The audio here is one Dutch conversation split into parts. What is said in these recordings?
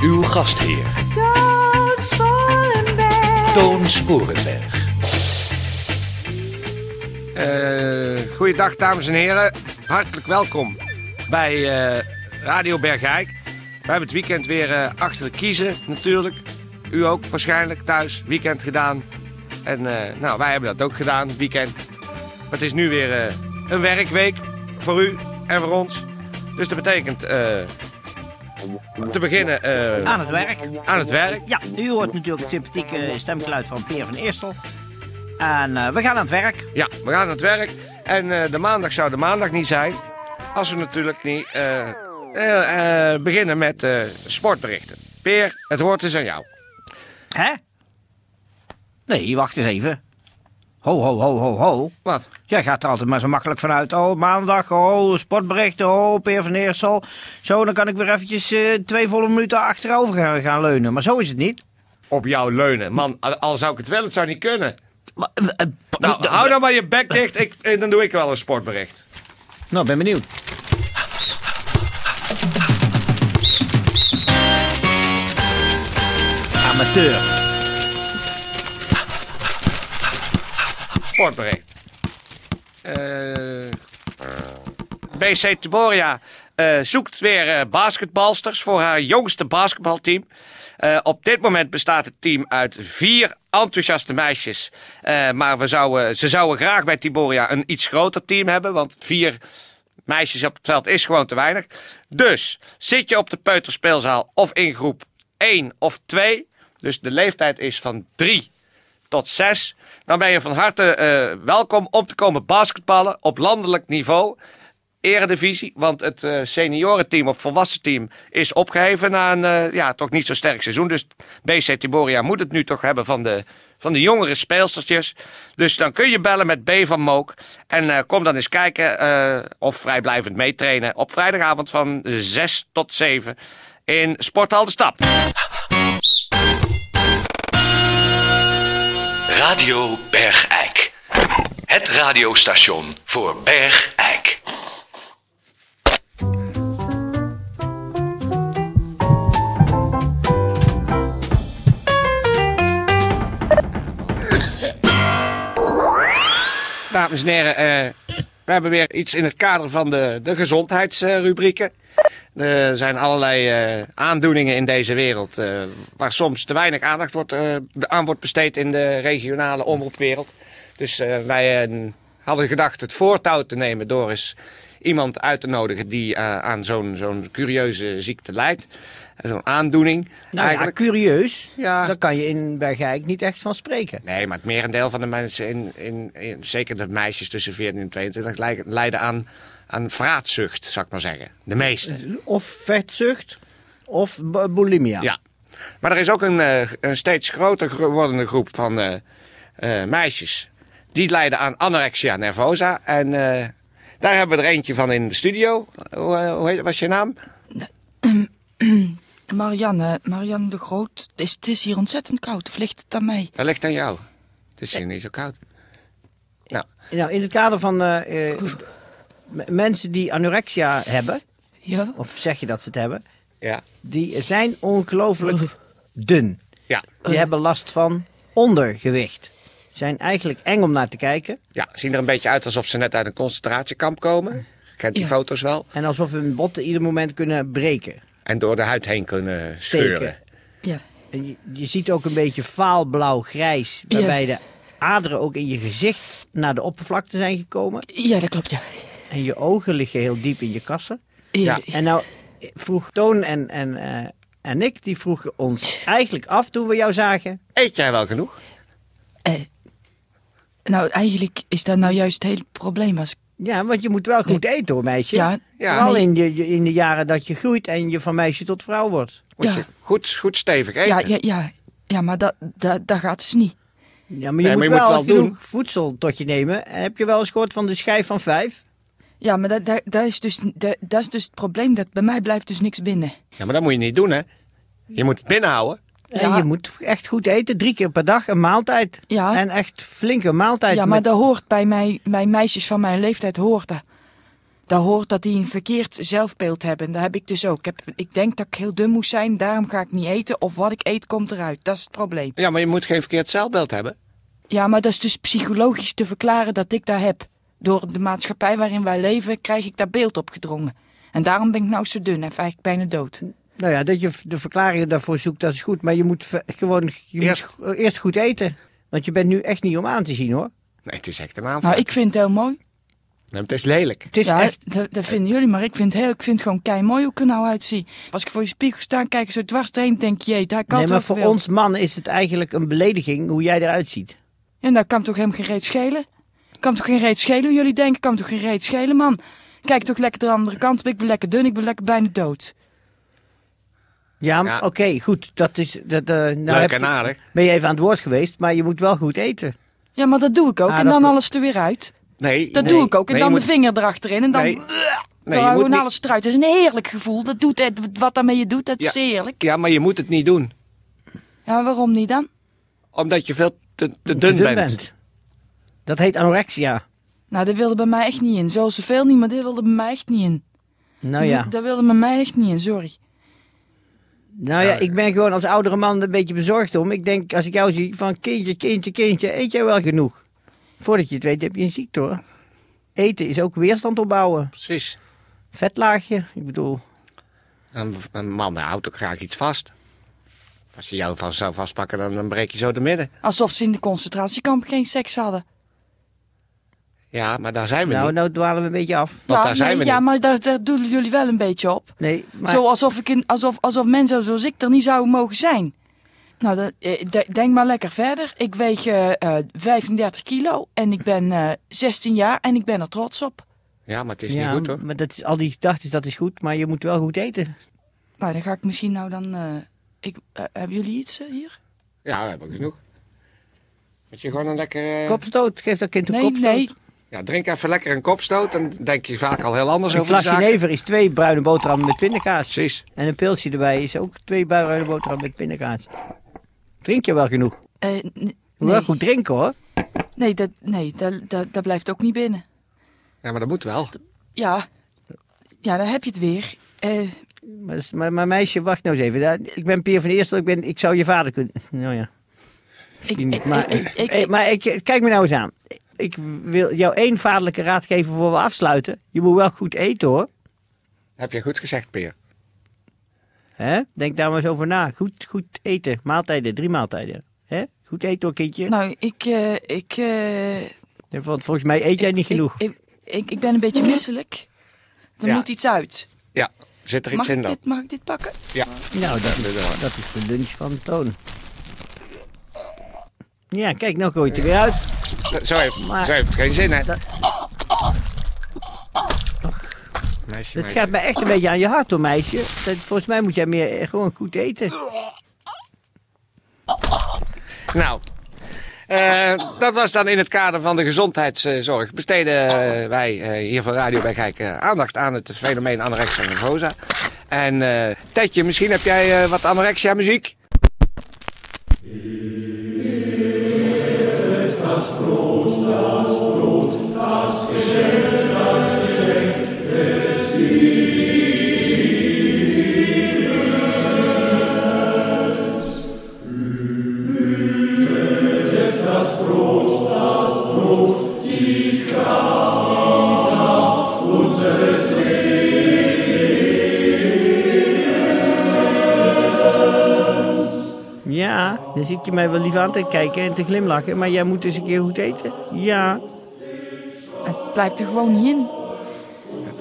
Uw gastheer Toon Sporenberg. Toon Sporenberg. Eh, goeiedag, dames en heren. Hartelijk welkom bij eh, Radio Bergijk. We hebben het weekend weer eh, achter de kiezen, natuurlijk. U ook waarschijnlijk thuis, weekend gedaan. En eh, nou, wij hebben dat ook gedaan, weekend. Maar het is nu weer eh, een werkweek voor u en voor ons. Dus dat betekent eh, te beginnen eh, Aan het werk. aan het werk. Ja, u hoort natuurlijk het sympathieke stemgeluid van Peer van Eerstel. En eh, we gaan aan het werk. Ja, we gaan aan het werk. En eh, de maandag zou de maandag niet zijn. Als we natuurlijk niet eh, eh, eh, beginnen met eh, sportberichten. Peer, het woord is aan jou. Hè? Nee, wacht eens even. Ho, ho, ho, ho, ho. Wat? Jij gaat er altijd maar zo makkelijk vanuit. Oh, maandag, oh, sportberichten, oh, Peer van Eerstel. Zo, dan kan ik weer eventjes eh, twee volle minuten achterover gaan, gaan leunen. Maar zo is het niet. Op jou leunen. Man, al- al zou ik het wel, het zou niet kunnen. Maar, eh, eh, Nou, hou dan maar je bek dicht ik, en dan doe ik wel een sportbericht. Nou, ben benieuwd. Amateur. Sportbericht. Eh, BC Teboria eh, zoekt weer eh, basketbalsters voor haar jongste basketbalteam. Eh, op dit moment bestaat het team uit vier enthousiaste meisjes. Eh, maar we zouden, ze zouden graag bij Tiboria een iets groter team hebben. Want vier meisjes op het veld is gewoon te weinig. Dus zit je op de peuterspeelzaal of in groep 1 of 2. Dus de leeftijd is van 3 tot 6. Dan ben je van harte eh, welkom om te komen basketballen op landelijk niveau. Eredivisie, want het eh, seniorenteam of volwassen team is opgeheven na een eh, ja, toch niet zo sterk seizoen. Dus BC Tiboria moet het nu toch hebben van de, van de jongere speelstertjes. Dus dan kun je bellen met B van Mook. En eh, kom dan eens kijken eh, of vrijblijvend meetrainen op vrijdagavond van 6 tot 7 in Sporthal de Stap. Radio Bergijk. Het radiostation voor Bergijk. Dames en heren, eh, we hebben weer iets in het kader van de, de gezondheidsrubrieken. Er zijn allerlei eh, aandoeningen in deze wereld eh, waar soms te weinig aandacht wordt, eh, aan wordt besteed in de regionale omroepwereld. Dus eh, wij eh, hadden gedacht het voortouw te nemen door eens iemand uit te nodigen die eh, aan zo'n zo'n curieuze ziekte lijdt. Zo'n aandoening Nou eigenlijk. ja, curieus. Ja. Daar kan je in Bergijk niet echt van spreken. Nee, maar het merendeel van de mensen, in, in, in- zeker de meisjes tussen 14 en 22, lijken- lijden aan, aan vraatzucht, zou ik maar zeggen. De meeste. Of vetzucht, of bu- bulimia. Ja. Maar er is ook een, eh, een steeds groter gro- wordende groep van eh, eh, meisjes. Die lijden aan anorexia nervosa. En eh, daar hebben we er eentje van in de studio. Hoe, eh, hoe heet, wat is je naam? Marianne, Marianne de Groot, is, het is hier ontzettend koud. Of ligt het aan mij? Dat ligt aan jou. Het is hier niet zo koud. Nou, Nou, in het kader van eh, eh, m- mensen die anorexia hebben, Ja. of zeg je dat ze het hebben, ja. die zijn ongelooflijk dun. Ja. Die hebben last van ondergewicht. Zijn eigenlijk eng om naar te kijken. ja, zien er een beetje uit alsof ze net uit een concentratiekamp komen. Kent die Ja. foto's wel. En alsof hun botten ieder moment kunnen breken. En door de huid heen kunnen scheuren. Steken. Ja. En je, je ziet ook een beetje vaalblauw-grijs. Ja. Waarbij de aderen ook in je gezicht naar de oppervlakte zijn gekomen. ja, dat klopt, ja. Eh, En je ogen liggen heel diep in je kassen. Ja. En nou vroeg Toon en, en, eh, en ik, die vroegen ons eigenlijk af toen we jou zagen. Eet jij wel genoeg? Eh, nou, eigenlijk is dat nou juist het hele probleem. Als ik Ja, want je moet wel goed eten hoor, meisje. Ja, Ja. Vooral nee. in, je, je- in de jaren dat je groeit en je van meisje tot vrouw wordt. Moet Ja. je goed, goed stevig eten. ja, ja, ja, ja, maar dat, dat, dat gaat dus niet. Ja, maar je, moet, Nee, maar je moet wel wel genoeg doen. voedsel tot je nemen. En heb je wel eens gehoord van de schijf van vijf? Ja, maar dat, dat, dat is dus, dat, dat is dus het probleem. Dat bij mij blijft dus niks binnen. Ja, maar dat moet je niet doen, hè? Je moet het binnenhouden. En Ja. je moet echt goed eten, drie keer per dag een maaltijd. Ja. En echt flinke maaltijd. Ja, maar met- dat hoort bij mij, bij meisjes van mijn leeftijd hoort dat. Dat hoort dat die een verkeerd zelfbeeld hebben. Dat heb ik dus ook. Ik, heb, ik denk dat ik heel dun moest zijn, daarom ga ik niet eten. Of wat ik eet komt eruit. Dat is het probleem. Ja, maar je moet geen verkeerd zeilbeeld hebben. Ja, maar dat is dus psychologisch te verklaren dat ik dat heb. Door de maatschappij waarin wij leven krijg ik dat beeld opgedrongen. En daarom ben ik nou zo dun en eigenlijk bijna dood. Nou ja, dat je v- de verklaringen daarvoor zoekt, dat is goed. Maar je moet v- gewoon je Eerst- Moet g- eerst goed eten. Want je bent nu echt niet om aan te zien hoor. Nee, het is echt een aanval. Nou, ik vind het heel mooi. het is lelijk. Het is ja, echt. Dat, dat vinden jullie, maar ik vind, heel, ik vind het gewoon kei mooi hoe ik er nou uitzie. Als ik voor de spiegel sta en kijk er zo dwars doorheen, denk je, jee, daar kan Nee, toch maar voor ons mannen is het eigenlijk een belediging hoe jij eruit ziet. En daar kan toch helemaal geen reet schelen? Kan toch geen reet schelen? hoe Jullie denken, kan toch geen reet schelen, man? Kijk toch lekker de andere kant op. Ik ben lekker dun, ik ben lekker bijna dood. Ja, Ja. oké, goed. Dat is, dat, eh, nou heb Leuk je- en aardig. ben je even aan het woord geweest, maar je moet wel goed eten. Ja, maar dat doe ik ook. Ah, en dat dan moet- alles er weer uit. Nee, Dat nee, doe ik ook. En nee, dan je de moet- vinger erachterin. En dan, Nee, nee, je dan nou moet gewoon niet- alles eruit. Dat is een heerlijk gevoel. Dat doet, het- wat daarmee je doet, dat is Ja. heerlijk. Ja, maar je moet het niet doen. Ja, waarom niet dan? Omdat je veel te, te Te dun, bent. Dat heet anorexia. Nou, dat wilde bij mij echt niet in. Zo is er veel niet, maar dit wilde bij mij echt niet in. Nou ja. Dat wilde bij mij echt niet in, sorry. Nou ja, ik ben gewoon als oudere man er een beetje bezorgd om. Ik denk, als ik jou zie, van kindje, kindje, kindje, eet jij wel genoeg? Voordat je het weet heb je een ziekte hoor. Eten is ook weerstand opbouwen. Precies. Vetlaagje, ik bedoel. Een, een man houdt ook graag iets vast. Als je jou vast zou vastpakken, dan, dan breek je zo de midden. Alsof ze in de concentratiekamp geen seks hadden. Ja, maar daar zijn we Nou, niet. nou dwalen we een beetje af. Want daar zijn nee, we ja niet. maar daar, daar doelen jullie wel een beetje op. Nee, maar Zo alsof, ik in, alsof, alsof mensen zoals ik er niet zouden mogen zijn. Nou, dat- eh, de- denk maar lekker verder. Ik weeg eh, eh, 35 kilo en ik ben eh, 16 jaar en ik ben er trots op. Ja, maar het is ja, niet goed hoor. maar dat is, al die gedachten, dat is goed, maar je moet wel goed eten. Nou, dan ga ik misschien nou dan... eh, ik, eh, hebben jullie iets eh, hier? Ja, we hebben genoeg. Moet je gewoon een lekker... eh, Kopstoot, geef dat kind een Nee, kopstoot. nee. Ja, drink even lekker een kopstoot. Dan denk je vaak al heel anders Een over de glas zaak. jenever is twee bruine boterhammen met pindakaas. Precies. En een pilsje erbij is ook twee bruine boterhammen met pindakaas. Drink je wel genoeg? Eh, n- Je moet Wel nee, goed drinken hoor. nee, dat, nee dat, dat, dat blijft ook niet binnen. Ja, maar dat moet wel. Ja, ja dan heb je het weer. Eh, Maar, dat is- maar, maar meisje, wacht nou eens even. Daar- Ik ben Pier van Eerstel, ik, ben, ik zou je vader kunnen... Nou ja, ik, die niet. ik- Maar, ik- ik- eh, maar ik, kijk me nou eens aan. Ik wil jou één vaderlijke raad geven voor we afsluiten. Je moet wel goed eten hoor. Heb je goed gezegd, Peer. Hè? Denk daar maar eens over na. Goed, goed eten. Maaltijden, drie maaltijden. Hè? Goed eten hoor, kindje. nou, ik... eh, ik eh, Want volgens mij eet jij niet genoeg. Ik, ik, ik, ik ben een beetje misselijk. Er Ja. moet iets uit. Ja, zit er iets Mag in ik, dan? dit, mag ik dit pakken? Ja. nou, dat is, dat is de lunch van Toon. Ja, kijk, nou gooi je het er weer uit. Zo heeft, Maar- zo heeft het geen zin, hè? Dat- Meisje, Het meisje. gaat mij echt een beetje aan je hart hoor, meisje. Dat, volgens mij moet jij meer eh, gewoon goed eten. Nou, eh, dat was dan in het kader van de gezondheidszorg. Besteden eh, wij eh, hier van Radio Bergijk eh, aandacht aan het fenomeen anorexia nervosa. En eh Tetje, misschien heb jij eh, wat anorexia muziek? Ja, dan zit je mij wel lief aan te kijken en te glimlachen. Maar jij moet dus een keer goed eten. Ja. Het blijft er gewoon niet in.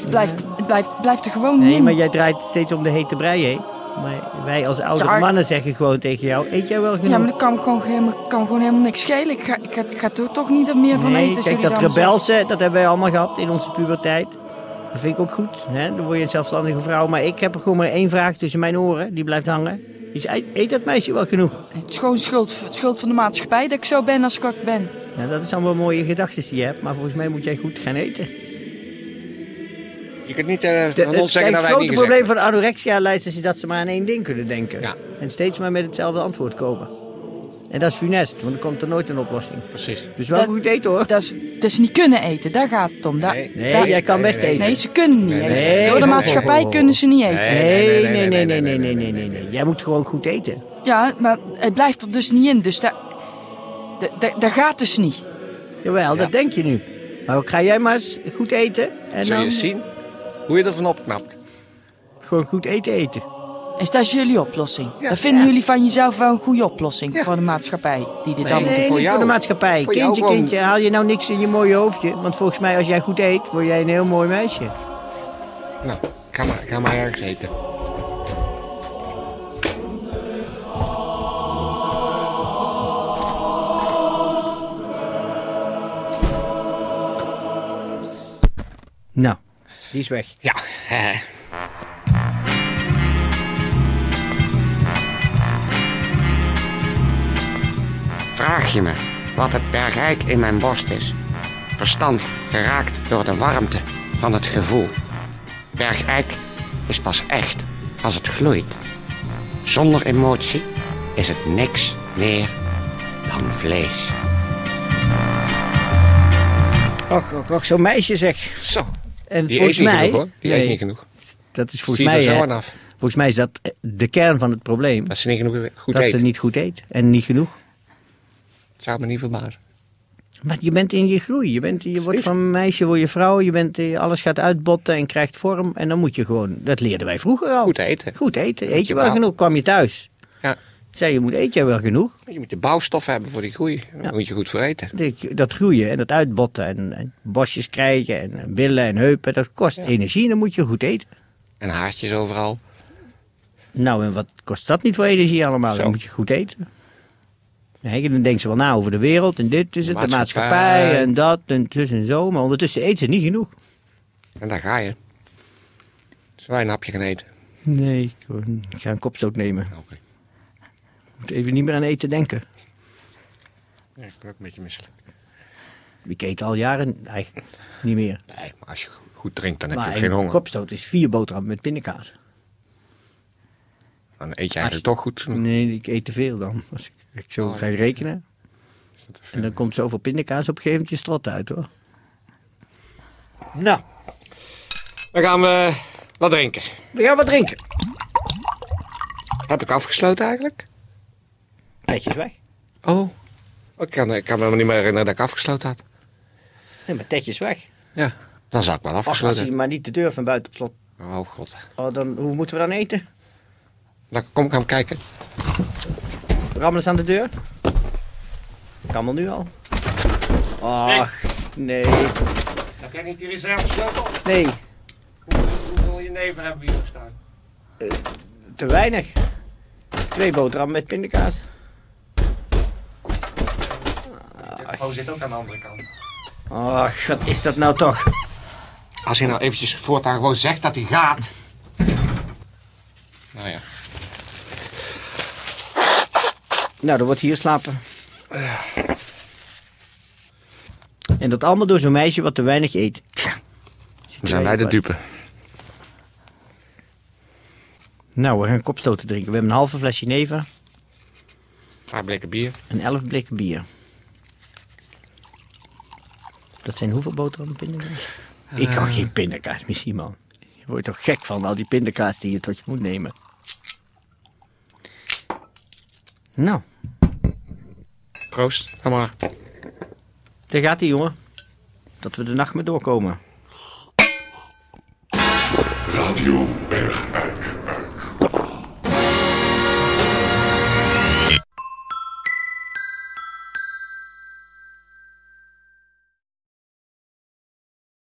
Het blijft, het blijft, blijft er gewoon niet Nee, in. maar jij draait steeds om de hete brei heen. Maar wij als oudere Ja, ik- mannen zeggen gewoon tegen jou, eet jij wel genoeg? Ja, maar dat kan gewoon, helemaal- kan gewoon helemaal niks schelen. Ik ga, ik ga, ik ga er toch niet meer van nee, eten. als kijk, jullie dat dan zeggen. rebelse, dat hebben wij allemaal gehad in onze puberteit. Dat vind ik ook goed. Hè? Dan word je een zelfstandige vrouw. Maar ik heb er gewoon maar één vraag tussen mijn oren. Die blijft hangen. Die is, eet dat meisje wel genoeg? Het is gewoon schuld, schuld van de maatschappij dat ik zo ben als ik wat ik ben. Nou, dat is allemaal mooie gedachten die je hebt. Maar volgens mij moet jij goed gaan eten. Je kunt niet eh, De- van ons kijk, zeggen dat wij het het niet grote gezegd probleem van anorexia-leiders is dat ze maar aan één ding kunnen denken. Ja. En steeds maar met hetzelfde antwoord komen. En dat is funest, want er komt er nooit een oplossing. hebben. Precies. Dus wel Dat- goed eten hoor. Dat is, dat is niet kunnen eten, daar gaat het om. Daar, Nee. Nee, daar- jij kan best eten. nee, ze kunnen niet eten. nee, Door de ho, ho, maatschappij ho, ho. kunnen ze niet eten. Nee, nee, nee, nee, nee, nee, nee, nee, nee. Jij moet gewoon goed eten. Ja, maar het blijft er dus niet in. Dus daar, da- da- daar gaat dus niet. Jawel, dat denk je nu. Maar ga jij maar eens goed eten. En Zul dan je eens zien hoe je dat van opknapt. gewoon goed eten eten. Is dat is jullie oplossing? dat vinden jullie van jezelf wel een goede oplossing voor de maatschappij die dit allemaal Nee, doet. niet voor, jou. de maatschappij. Voor jou kindje, gewoon. kindje, haal je nou niks in je mooie hoofdje. Want volgens mij, als jij goed eet, word jij een heel mooi meisje. Nou, ga maar, ga maar ergens eten. Nou, die is weg. Ja. Vraag je me wat het bergrijk in mijn borst is? Verstand geraakt door de warmte van het gevoel. Bergijk is pas echt als het gloeit. Zonder emotie is het niks meer dan vlees. Och, och, och, zo'n meisje zeg. Zo. En Die volgens eet niet mij... genoeg hoor. Die Nee, eet niet genoeg. Dat is Zie volgens je mij... er zo hè, aan af. Volgens mij is dat eh, de kern van het probleem. Dat ze niet genoeg goed dat eten. ze niet goed eet. En niet genoeg. Zou me niet verbazen. Maar je bent in je groei. Je, bent, je wordt van meisje, word je vrouw. Je bent, eh, alles gaat uitbotten en krijgt vorm. En dan moet je gewoon... Dat leerden wij vroeger al. Goed eten. Goed eten. Eet je wel Ja. genoeg? Kwam je thuis? Ja. Zei je, moet eet jij wel genoeg? Je moet de bouwstof hebben voor die groei. Daar Ja. moet je goed voor eten. Dat- Dat groeien en dat uitbotten en, en bosjes krijgen en billen en heupen, dat kost energie en dan moet je goed eten. En haartjes overal. Nou, en wat kost dat niet voor energie allemaal? Zo. Dan moet je goed eten. Nee, dan denken ze wel na over de wereld en dit is het, de Maatschappij. maatschappij en dat en tussen en zo. Maar ondertussen eten ze niet genoeg. En daar ga je. Zullen wij een hapje gaan eten? Nou, Nee, ik, ik ga een kopstoot nemen. Oké. Moet even niet meer aan eten denken. Ja, ik ben ook een beetje misselijk. Ik eet al jaren eigenlijk niet meer. Nee, maar als je goed drinkt, dan heb maar je geen een honger. kopstoot is vier boterhammen met pindakaas. Dan eet je eigenlijk toch goed. Nee, ik eet te veel dan. Als ik, ik zo Oh. ga rekenen. Is dat te veel? En dan komt zoveel pindakaas op een gegeven moment je strot uit hoor. Nou, Dan gaan we wat drinken. we gaan wat drinken. Heb ik afgesloten eigenlijk? Petjes weg. Oh. Ik kan, ik kan me helemaal niet meer herinneren dat ik afgesloten had. Nee, maar tetjes weg. Ja. Dan zou ik wel Och, als afgesloten hij maar niet de deur van buiten op slot. hebben. Oh god. Oh, dan, hoe moeten we dan eten? Nou, kom ik hem kijken. Rammel eens aan de deur. Ik Rammel nu al. Ach, nee. Heb jij niet die reservesleutel? Nee, Hoeveel jenever hebben we hier gestaan? te weinig. Twee boterhammen met pindakaas. Oh, zit ook aan de andere kant. Ach, wat is dat nou toch? Als hij nou eventjes voortaan gewoon zegt dat hij gaat. Nou ja. Nou, dan wordt hier slapen. En dat allemaal door zo'n meisje wat te weinig eet. Zit Dan zijn wij de vast. dupe. Nou, we gaan kopstoten drinken. We hebben een halve fles jenever Paar blikken bier. en elf blikken bier. Dat zijn hoeveel boterhammen pindakaas? Ik kan geen pindakaas meer zien, man. Je wordt toch gek van al die pindakaas die je tot je moet nemen. Nou, Proost. Ga maar. daar gaat hij, jongen. Dat we de nacht mee doorkomen. Radio Bergijk.